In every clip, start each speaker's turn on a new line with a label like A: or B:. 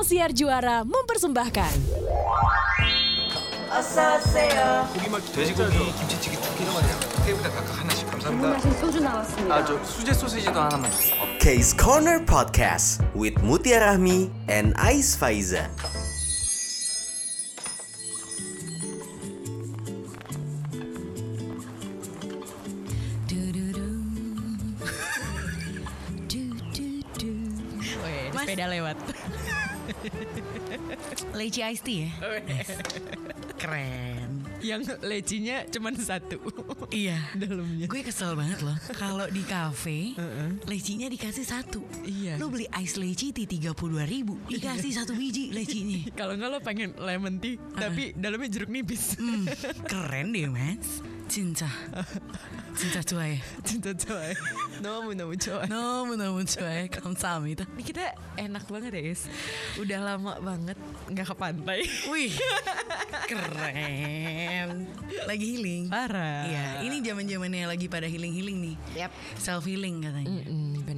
A: Sang Siar Juara mempersembahkan.
B: 고기말치 돼지고기 김치찌개 두 개로 가요 테이블에 각각 하나씩 감사합니다 아저 수제 소시지도 하나만
C: Case Corner Podcast with Mutia Rahmi and Ais Faiza.
D: Weh, ada sepeda lewat.
E: Leci Ice Tea ya? Keren.
D: Yang lecinya cuman satu.
E: Iya.
D: Dalamnya.
E: Gue kesel banget loh. Kalau di kafe, lecinya dikasih satu.
D: Iya.
E: Lu beli ice leci di 32 ribu. Dikasih satu biji lecinya.
D: Kalau nggak lo pengen lemon tea, tapi dalamnya jeruk nipis.
E: Hmm, keren deh mas. Cinta. Cinta cuy.
D: Cinta coy. Nomu nomu coy.
E: Namun namun cuy.
D: Nah,
E: Kamsahamnida.
D: Ini kita enak banget ya guys. Udah lama banget nggak ke pantai.
E: Wih, keren. Lagi healing.
D: Parah.
E: Iya, ini zaman zamannya lagi pada healing healing nih.
D: Yap.
E: Self healing katanya.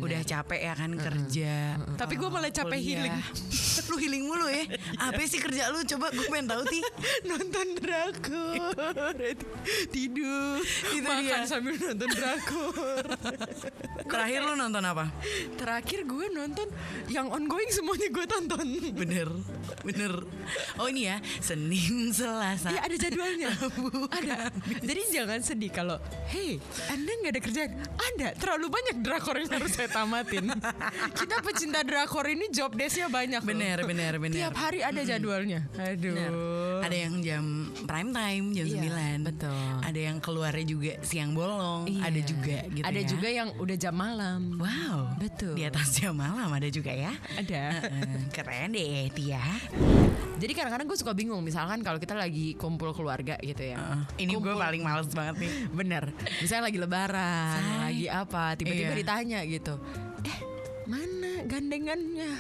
E: Udah capek ya kan kerja.
D: Tapi gua malah capek
E: kuliah.
D: healing.
E: lu healing mulu ya? Apa sih kerja lu? Coba gue pengen tahu ti.
D: nonton drakor tidur
E: Itu
D: makan
E: dia.
D: sambil nonton drakor
E: Terakhir lu nonton apa?
D: terakhir gue nonton yang ongoing semuanya gue tonton
E: Bener, bener. Oh ini ya Senin Selasa.
D: Iya ada jadwalnya. ada. Jadi jangan sedih kalau, hey, anda nggak ada kerjaan. Ada. Terlalu banyak drakor yang harus saya tamatin. Kita pecinta drakor ini job desknya banyak. loh.
E: Bener, bener, bener.
D: Tiap hari ada jadwalnya. Aduh.
E: Bener. Ada yang jam prime time jam
D: Iya,
E: 9
D: betul.
E: Ada yang keluarnya juga siang bolong.
D: Iya.
E: Ada juga gitu
D: Ada
E: ya.
D: juga yang udah jam malam.
E: Wow,
D: Betul.
E: Di atas jam malam ada juga ya.
D: Ada.
E: Heeh, Keren deh Tia.
D: Jadi kadang-kadang gue suka bingung. Misalkan kalau kita lagi kumpul keluarga gitu ya.
E: Heeh, ini gue paling males banget nih.
D: Bener. Misalnya lagi lebaran,
E: Say.
D: lagi apa, tiba-tiba
E: Iya.
D: ditanya gitu. Eh, mana gandengannya?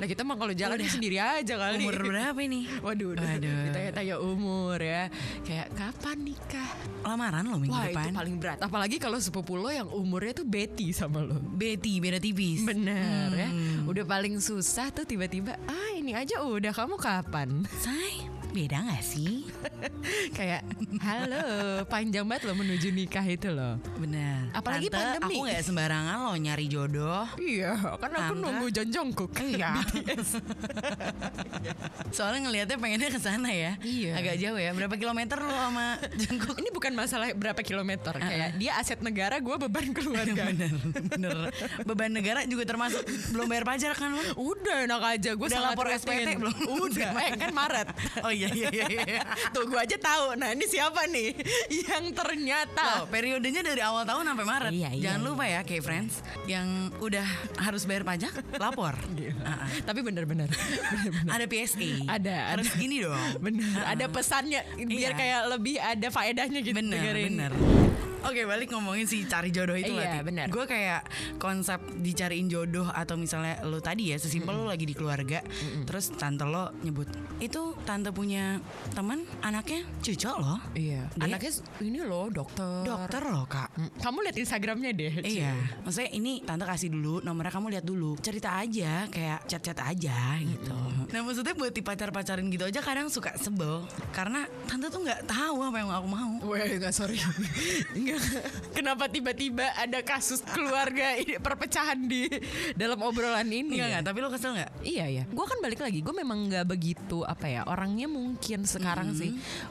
D: Nah kita mah kalau jalan
E: Udah.
D: sendiri aja kali.
E: Umur berapa nih?
D: Waduh, udah
E: Waduh.
D: ditanya-tanya umur ya. Kayak kapan nikah?
E: Lamaran lo minggu
D: Wah
E: depan.
D: itu paling berat. Apalagi kalau sepupu lo yang umurnya tuh Betty sama lo.
E: Betty beda tipis.
D: Bener ya.
E: Hmm.
D: Udah paling susah tuh tiba-tiba. Ah ini aja udah kamu kapan?
E: Say, beda gak sih?
D: Kayak halo panjang banget lo menuju nikah itu loh.
E: Bener.
D: Apalagi
E: Tante,
D: pandemi.
E: aku gak sembarangan lo nyari jodoh.
D: Iya, kan aku
E: Tante.
D: nunggu John Jongkook. Iya.
E: Soalnya ngelihatnya pengennya ke sana ya.
D: Iya.
E: Agak jauh ya. Berapa kilometer lo sama jengkok?
D: Ini bukan masalah berapa kilometer, kayak dia aset negara, gue beban keluarga.
E: Iya, Bener, bener. Beban negara juga termasuk belum bayar pajak kan lo?
D: Udah enak aja, gue
E: Udah lapor SPT belum?
D: Udah, eh, kan Maret.
E: Oh iya iya iya. iya.
D: Tuh gue aja tahu. Nah ini siapa nih yang
E: Loh,
D: ternyata
E: periodenya dari awal tahun sampai Maret.
D: Iya, iya,
E: Jangan lupa ya, kayak friends yang udah harus bayar pajak, lapor.
D: Iya.
E: Ah, ah.
D: Tapi bener-bener, bener-bener.
E: Ada PSE.
D: Ada,
E: Harus
D: ada.
E: gini dong.
D: bener. Ada pesannya biar
E: Iya.
D: kayak lebih ada faedahnya gitu.
E: Bener,
D: dengerin.
E: bener. Oke balik ngomongin si cari jodoh itu
D: Iya, bener.
E: Gue kayak konsep dicariin jodoh atau misalnya lo tadi ya sesimpel lo lagi di keluarga, terus tante lo nyebut itu tante punya teman anaknya cocok loh,
D: Iya.
E: Dia-
D: Anaknya s- ini loh dokter.
E: dokter loh kak.
D: Hmm, Kamu lihat Instagramnya deh. Ci.
E: Iya, maksudnya ini tante kasih dulu nomornya kamu lihat dulu, cerita aja kayak chat-chat aja gitu. Nah maksudnya buat di pacar-pacarin gitu aja kadang suka sebel karena tante tuh nggak tahu apa yang aku mau.
D: Wah, enggak sorry. Enggak. Kenapa tiba-tiba ada kasus keluarga ini, perpecahan di dalam obrolan ini?
E: Enggak
D: ya?
E: enggak, tapi lo kesel nggak?
D: Iya ya, gue kan balik lagi, gue memang nggak begitu apa ya orangnya mungkin sekarang
E: Hmm.
D: sih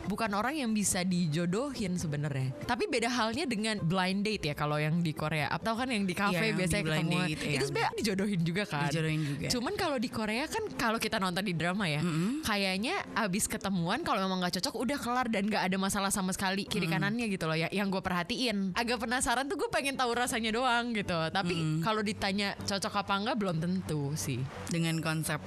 D: bukan orang yang bisa dijodohin sebenarnya. Tapi beda halnya dengan blind date ya kalau yang di Korea atau kan yang di
E: Iya,
D: kafe
E: yang
D: biasanya
E: di blind
D: ketemuan
E: date,
D: itu
E: yang-
D: sebenarnya dijodohin juga kan.
E: Dijodohin juga.
D: Cuman kalau di Korea kan kalau kita nonton di drama ya, kayaknya abis ketemuan kalau memang nggak cocok udah kelar dan nggak ada masalah sama sekali kiri kanannya gitu loh ya. Yang gue perhatiin, agak penasaran tuh gue pengen tahu rasanya doang gitu. Tapi kalau ditanya cocok apa enggak belum tentu sih
E: dengan konsep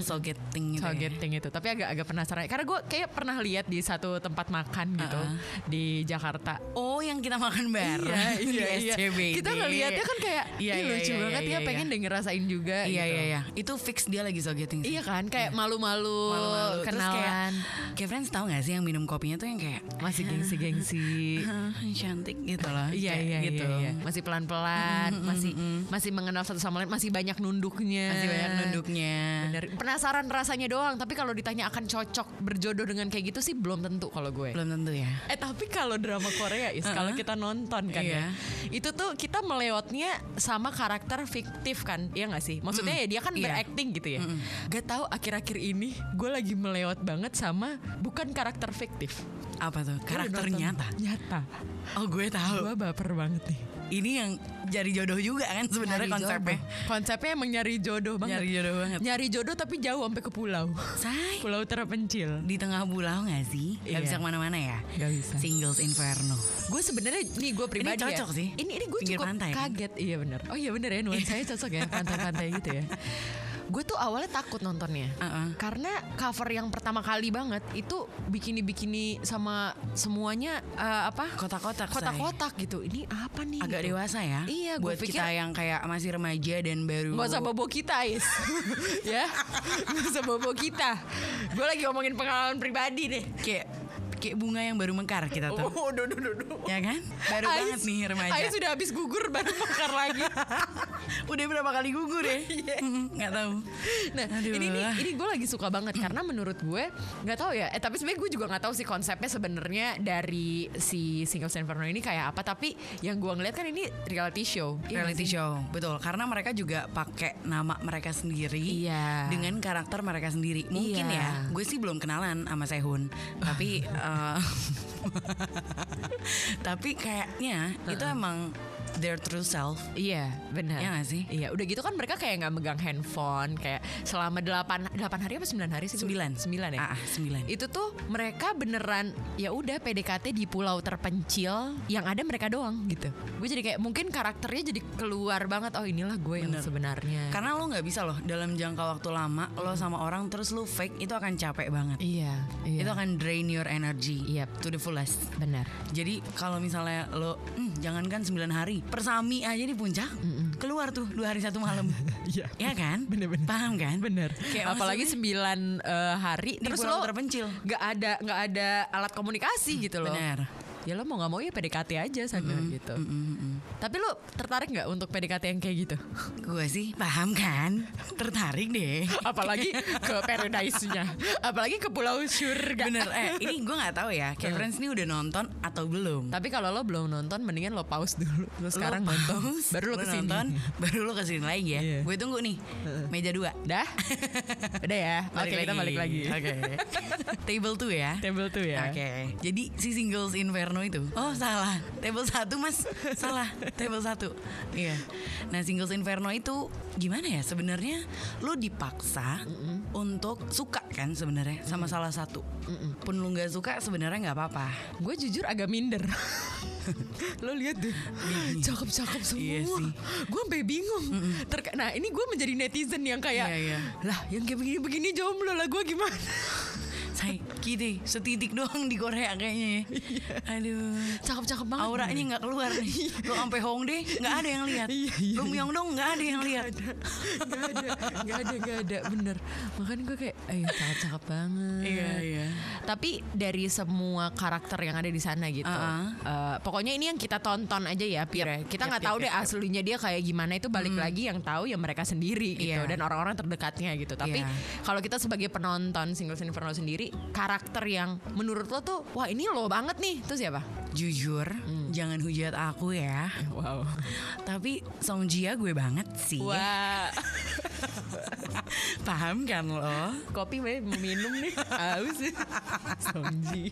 E: sogeting gitu ya.
D: targeting itu tapi agak agak penasaran karena gue kayak pernah lihat di satu tempat makan gitu di Jakarta
E: Oh yang kita makan bareng di SCBD.
D: Iya, kita ngelihatnya kan kayak
E: Iya,
D: "Ih,
E: iya,
D: lucu
E: iya,
D: banget
E: iya,
D: ya
E: iya.
D: pengen deh ngerasain juga
E: Iya
D: gitu.
E: iya iya. Itu fix dia lagi sogeting sih.
D: Iya kan kayak malu-malu,
E: Malu-malu. Terus kayak,
D: kenalan
E: kayak friends tahu gak sih yang minum kopinya tuh yang kayak
D: masih gengsi-gengsi
E: "Ah, Insya cantik gitu loh.
D: Iya
E: Kayak
D: iya
E: gitu.
D: gitu. Masih pelan-pelan, masih masih mengenal satu sama lain, masih banyak nunduknya.
E: Masih banyak nunduknya.
D: Bener. Penasaran rasanya doang, tapi kalau ditanya akan cocok berjodoh dengan kayak gitu sih belum tentu kalau gue.
E: Belum tentu ya.
D: Eh tapi kalau drama Korea is kalau kita nonton kan
E: Iya.
D: ya. Itu tuh kita melewatnya sama karakter fiktif kan. Iya gak sih? Maksudnya ya dia kan
E: Iya.
D: berakting gitu ya. Gak tahu akhir-akhir ini gue lagi melewat banget sama bukan karakter fiktif.
E: Apa tuh? Karakter
D: Lu udah nonton?
E: nyata.
D: Nyata.
E: Oh gue tahu.
D: Gue baper banget nih.
E: Ini yang jadi jodoh juga kan sebenarnya
D: Nyari
E: konsepnya.
D: jodoh. Konsepnya emang nyari jodoh banget.
E: Nyari jodoh banget.
D: Nyari jodoh tapi jauh sampai ke pulau.
E: Say,
D: pulau terpencil.
E: di tengah pulau nggak sih? Gak
D: Iya.
E: bisa kemana-mana ya?
D: Gak bisa.
E: Singles Inferno.
D: Gue sebenarnya nih gue pribadi ya.
E: cocok sih.
D: Ini ini gue
E: Pinggir
D: cukup
E: pantai kan?
D: kaget. Iya bener. Oh iya bener ya nuansanya cocok ya pantai-pantai gitu ya. Gue tuh awalnya takut nontonnya
E: Uh-uh.
D: Karena cover yang pertama kali banget Itu bikini-bikini sama semuanya eh, Apa?
E: Kotak-kotak, Shay.
D: Kotak-kotak gitu Ini apa nih?
E: Agak
D: gitu.
E: dewasa ya?
D: Iya, gua
E: Buat kita
D: pikir-
E: yang kayak masih remaja dan baru.
D: Gak usah bobo kita Is Ya Gak usah bobo kita Gue lagi ngomongin pengalaman pribadi deh
E: Kayak kayak bunga yang baru mekar kita tuh.
D: Oh, duh, duh, duh, duh.
E: Ya kan? Baru
D: Ais-
E: banget nih remaja.
D: Ais sudah habis gugur baru mekar lagi
E: Udah berapa kali gugur ya? Nggak tahu.
D: Nah
E: Aduh.
D: ini nih, ini gue lagi suka banget Karena menurut gue Gak tahu ya Eh tapi sebenarnya gue juga gak tahu sih konsepnya sebenarnya Dari si Single Inferno ini kayak apa Tapi yang gue ngeliat kan ini reality show Iya nggak
E: reality
D: sih?
E: show betul karena mereka juga pakai nama mereka sendiri
D: Iya.
E: dengan karakter mereka sendiri mungkin
D: Iya.
E: ya gue sih belum kenalan sama Sehun tapi eh, tapi kayaknya itu emang their true self
D: Iya benar.
E: Iya nggak sih?
D: Iya udah gitu kan mereka kayak nggak megang handphone kayak selama 8 8 hari apa 9 hari sih?
E: Sembilan.
D: 9 ya.
E: Ah, ah, sembilan.
D: Itu tuh mereka beneran ya udah PDKT di pulau terpencil yang ada mereka doang gitu. Gue jadi kayak mungkin karakternya jadi keluar banget oh inilah gue yang sebenarnya.
E: karena lo nggak bisa loh dalam jangka waktu lama lo sama orang terus lo fake itu akan capek banget
D: iya, iya.
E: itu akan drain your energy
D: Yap.
E: to the fullest
D: benar.
E: Jadi kalau misalnya lo "Hmm, jangankan 9 hari, persami aja di puncak, keluar tuh dua hari satu malam.
D: Iya.
E: Ya kan?
D: Bener-bener.
E: Paham kan?
D: Bener.
E: Kayak
D: Apalagi
E: maksudnya-
D: 9 eh, hari
E: Di
D: terus
E: pulau
D: lo
E: terpencil.
D: nggak ada nggak ada alat komunikasi gitu loh.
E: bener.
D: Ya lo mau nggak mau ya PDKT aja sana gitu. Tapi lo tertarik nggak untuk PDKT yang kayak gitu?
E: Gue sih paham kan? Tertarik deh.
D: Apalagi ke paradise-nya. Apalagi ke pulau surga.
E: Bener. Eh, ini gue nggak tahu ya. Kayak friends ini udah nonton atau belum?
D: Tapi kalau lo belum nonton mendingan lo pause dulu. Lo sekarang nonton
E: pause,
D: baru lo kesini.
E: nonton, baru lo kesini lagi ya.
D: Iya.
E: Gue tunggu nih. Meja dua.
D: Dah? Udah ya. Oke, kita balik lagi.
E: Oke. Table 2 ya.
D: Table 2 ya.
E: Oke. Jadi si singles Inferno itu. Oh, salah. Table 1, Mas. salah. Table 1. Iya. Nah, singles Inferno itu gimana ya sebenarnya? Lu dipaksa untuk suka kan sebenarnya sama salah satu. Pun lu nggak suka sebenarnya nggak apa-apa.
D: Gue jujur agak minder. lo lihat deh cakep-cakep semua
E: Iya sih.
D: gue sampai bingung Terka- nah ini gue menjadi netizen yang kayak
E: Iya, iya.
D: lah yang kayak begini-begini jomblo lah gue gimana
E: Say, gitu setitik doang di Korea kayaknya ya.
D: Iya.
E: Aduh.
D: cakep-cakep banget
E: auranya nggak keluar nih lo sampai Hongdae nggak ada yang lihat
D: Iya, iya,
E: lo Myeongdong nggak ada yang lihat
D: Gak ada, gak ada, gak ada, bener. Makanya gue kayak, eh cakep-cakep banget.
E: Iya, iya.
D: Tapi dari semua karakter yang ada di sana gitu,
E: Uh-uh.
D: eh, pokoknya ini yang kita tonton aja ya, Pire. kita
E: yap,
D: nggak
E: yap,
D: tahu
E: yap,
D: deh aslinya dia kayak gimana itu balik lagi yang tahu ya mereka sendiri gitu
E: Iya.
D: dan orang-orang terdekatnya gitu. Tapi
E: Iya.
D: kalau kita sebagai penonton Singles Inferno sendiri, karakter yang menurut lo tuh, wah ini lo banget nih, itu siapa?
E: jujur
D: Hmm.
E: jangan hujat aku ya
D: Wow.
E: tapi Song Jia gue banget sih
D: Iya. Wah,
E: paham kan lo
D: kopi gue mau minum nih. Aus. Somji.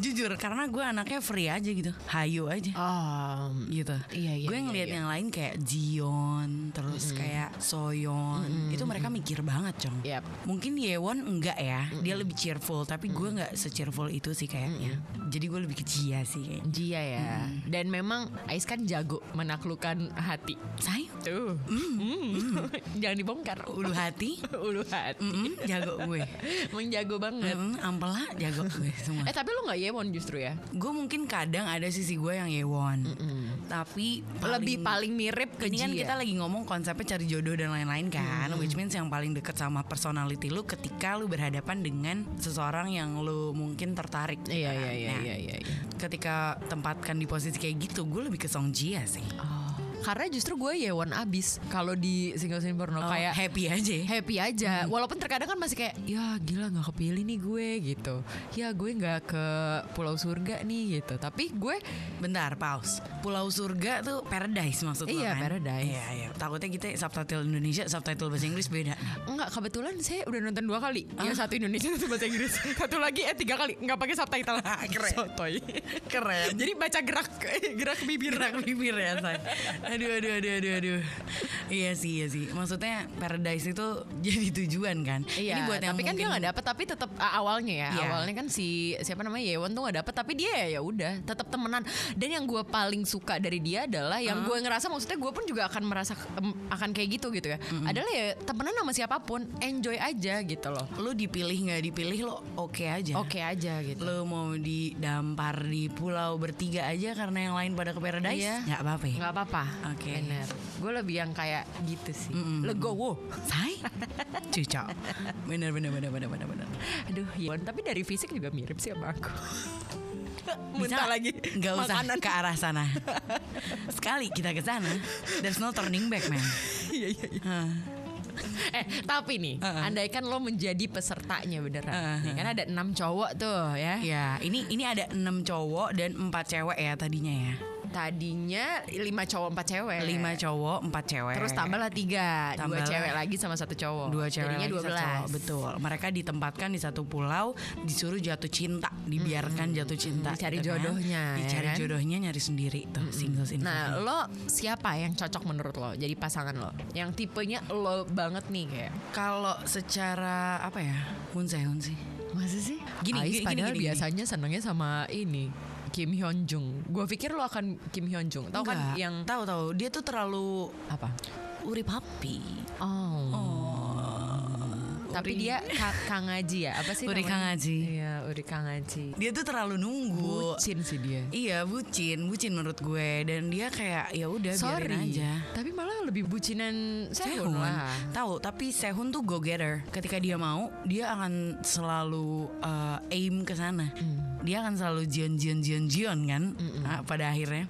E: jujur karena gue anaknya free aja gitu hayu aja
D: Um,
E: gitu
D: Iya, iya,
E: gue
D: iya,
E: ngeliat
D: iya.
E: yang lain kayak Jion terus kayak Soyeon itu mereka mikir banget cong
D: Yap.
E: mungkin Yewon enggak ya dia lebih cheerful tapi gue nggak se-cheerful itu sih kayaknya jadi gue lebih ke Jia sih kayaknya
D: Dia ya. Dan memang Ais kan jago menaklukkan hati.
E: say
D: Tuh. Jangan dibongkar. Mm.
E: ulu hati
D: Ulu hati.
E: Mm-mm, jago gue
D: Emang jago banget.
E: Mm-mm, ampela jago gue semua
D: Eh tapi lu nggak yewon justru ya?
E: Gue mungkin kadang ada sisi gue yang Yewon Tapi
D: Lebih paling mirip ke
E: ini kan
D: Ji
E: kita
D: ya?
E: lagi ngomong konsepnya cari jodoh dan lain-lain kan Which means yang paling deket sama personality lu ketika lu berhadapan dengan seseorang yang lu mungkin tertarik gitu
D: Iya
E: kan.
D: iya iya
E: Nah,
D: iya iya. iya.
E: Ketika tempatkan di posisi kayak gitu Gue lebih ke Song Jia sih
D: Oh. Karena justru gue yewon abis kalau di single scene porno
E: Oh,
D: kayak
E: happy aja ya.
D: happy aja walaupun terkadang kan masih kayak ya gila nggak kepilih nih gue gitu ya gue nggak ke pulau surga nih gitu tapi gue
E: Bentar, pause. Pulau Surga tuh paradise maksud lo
D: Iya,
E: kan?
D: paradise.
E: Iya, iya. Takutnya kita subtitle Indonesia, subtitle bahasa Inggris beda.
D: nggak kebetulan saya udah nonton dua kali yang satu Indonesia satu bahasa Inggris satu lagi eh tiga kali nggak pakai subtitle
E: Keren.
D: Sotoy.
E: Keren.
D: Iya, jadi baca gerak gerak bibir
E: Gerak bibir ya, say. Aduh, aduh, aduh, aduh, aduh. Iya sih, iya sih. Maksudnya paradise itu jadi tujuan kan?
D: Iya,
E: Ini buat yang
D: tapi kan dia
E: mungkin-
D: nggak dapet, tapi tetap ah, awalnya ya,
E: Iya.
D: awalnya kan si siapa namanya Yewon tuh nggak dapet, tapi dia ya ya udah, tetap temenan. Dan yang gue paling suka dari dia adalah yang gue ngerasa maksudnya gue pun juga akan merasa em, akan kayak gitu gitu ya. Adalah ya temenan sama siapapun, enjoy aja gitu loh.
E: Lu dipilih nggak dipilih, lo oke aja.
D: Oke aja gitu.
E: Lo mau didampar di pulau bertiga aja karena yang lain pada ke paradise?
D: Iya.
E: Nggak apa-apa ya?
D: nggak apa-apa.
E: Oke.
D: Bener. Gue lebih yang kayak gitu sih.
E: Mm-mm.
D: Legowo.
E: Say? Cucok. Bener, bener, bener, bener, bener, bener.
D: Aduh, Yewon tapi dari fisik juga mirip sih sama aku.
E: Bisa
D: Muntah lagi.
E: Gak usah
D: Makanan.
E: ke arah sana. Sekali kita ke sana, there's no turning back, man.
D: Iya iya iya. Eh tapi nih,
E: Heeh.
D: andaikan lo menjadi pesertanya beneran,
E: Heeh,
D: Nih, kan ada enam cowok tuh ya.
E: Ya, ini ini ada enam cowok dan empat cewek ya tadinya ya.
D: Tadinya lima cowok empat cewek.
E: Lima cowok, empat cewek.
D: Terus tambahlah tiga, dua
E: Tambahlah.
D: cewek lagi sama satu cowok.
E: dua cewek
D: Jadinya
E: lagi
D: dua
E: satu
D: belas.
E: cowok. betul mereka ditempatkan di satu pulau disuruh jatuh cinta dibiarkan jatuh cinta
D: Dicari
E: gitu kan.
D: jodohnya, ya
E: dicari
D: kan?
E: jodohnya nyari sendiri tuh singles in
D: Nah
E: February.
D: lo siapa yang cocok menurut lo jadi pasangan lo? Yang tipenya lo banget nih kayak.
E: kalau secara apa ya hunseon sih
D: Masa sih? Gini, gini,
E: Ais padahal
D: gini, gini. biasanya senengnya sama ini Kim Hyun Jung. Gue pikir lo akan Kim Hyun Jung. Tahu kan
E: Enggak.
D: yang
E: tahu tahu dia tuh terlalu
D: apa?
E: urip happy
D: Oh. Tapi
E: Oh. Uri.
D: dia ka Kang Aji ya? Apa sih
E: Uri
D: namanya?
E: Kang Aji.
D: Iya, Uri Kang Aji.
E: dia tuh terlalu nunggu
D: Bucin sih dia.
E: Iya bucin, bucin menurut gue dan dia kayak ya udah biarin aja.
D: Tapi malah lebih bucinan Sehun
E: Sehun
D: lah.
E: Tahu, tapi Sehun tuh go getter. Ketika dia mau, dia akan selalu uh, aim ke sana.
D: Hmm.
E: Dia akan selalu jion jion jion jion kan ah, pada akhirnya.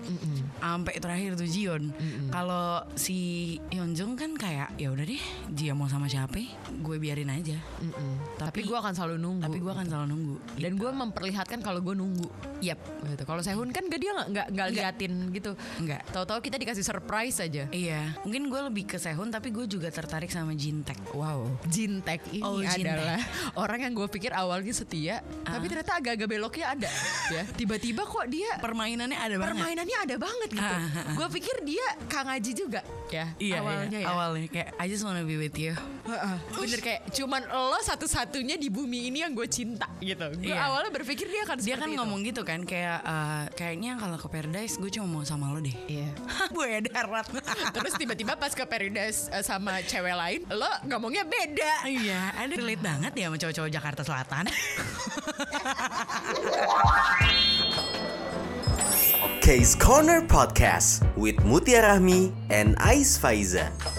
E: Sampai terakhir tuh jion. Kalau si Yeonjung kan kayak ya udah deh, dia mau sama siapa, gue biarin aja.
D: Mm-mm. Tapi,
E: Tapi-
D: gue akan selalu nunggu.
E: Tapi gue akan selalu nunggu.
D: dan gue memperlihatkan kalau gue nunggu. Yap. Gitu. Kalau Sehun kan gak dia nggak nggak nggak liatin gitu.
E: Enggak.
D: Tahu-tahu kita dikasih surprise aja.
E: Iya, mungkin gue lebih ke Sehun tapi gue juga tertarik sama Jintek.
D: Wow, Jintek ini
E: Oh, Jintek.
D: adalah orang yang gue pikir awalnya setia,
E: Ah.
D: tapi ternyata agak-agak beloknya ada. ya, tiba-tiba kok dia
E: Permainannya ada banget.
D: permainannya ada banget gitu.
E: Ah, ah, ah.
D: Gue pikir dia Kang Aji juga
E: Iya,
D: ya awalnya ya.
E: awalnya kayak I just wanna be with you.
D: Heeh. Bener kayak cuman lo satu-satunya di bumi ini yang gue cinta gitu. Gue
E: Iya.
D: awalnya berpikir dia akan
E: Dia
D: seperti
E: kan
D: itu.
E: ngomong gitu kan kayak eh, kayaknya kalau ke Paradise gue cuma mau sama lo deh.
D: Iya.
E: Gue ya darat.
D: Terus tiba-tiba pas ke Paradise eh, sama cewek lain, lo ngomongnya beda.
E: Iya, ada relate banget ya sama cowok-cowok Jakarta Selatan.
C: Case Corner Podcast with Mutia Rahmi and Ais Faiza.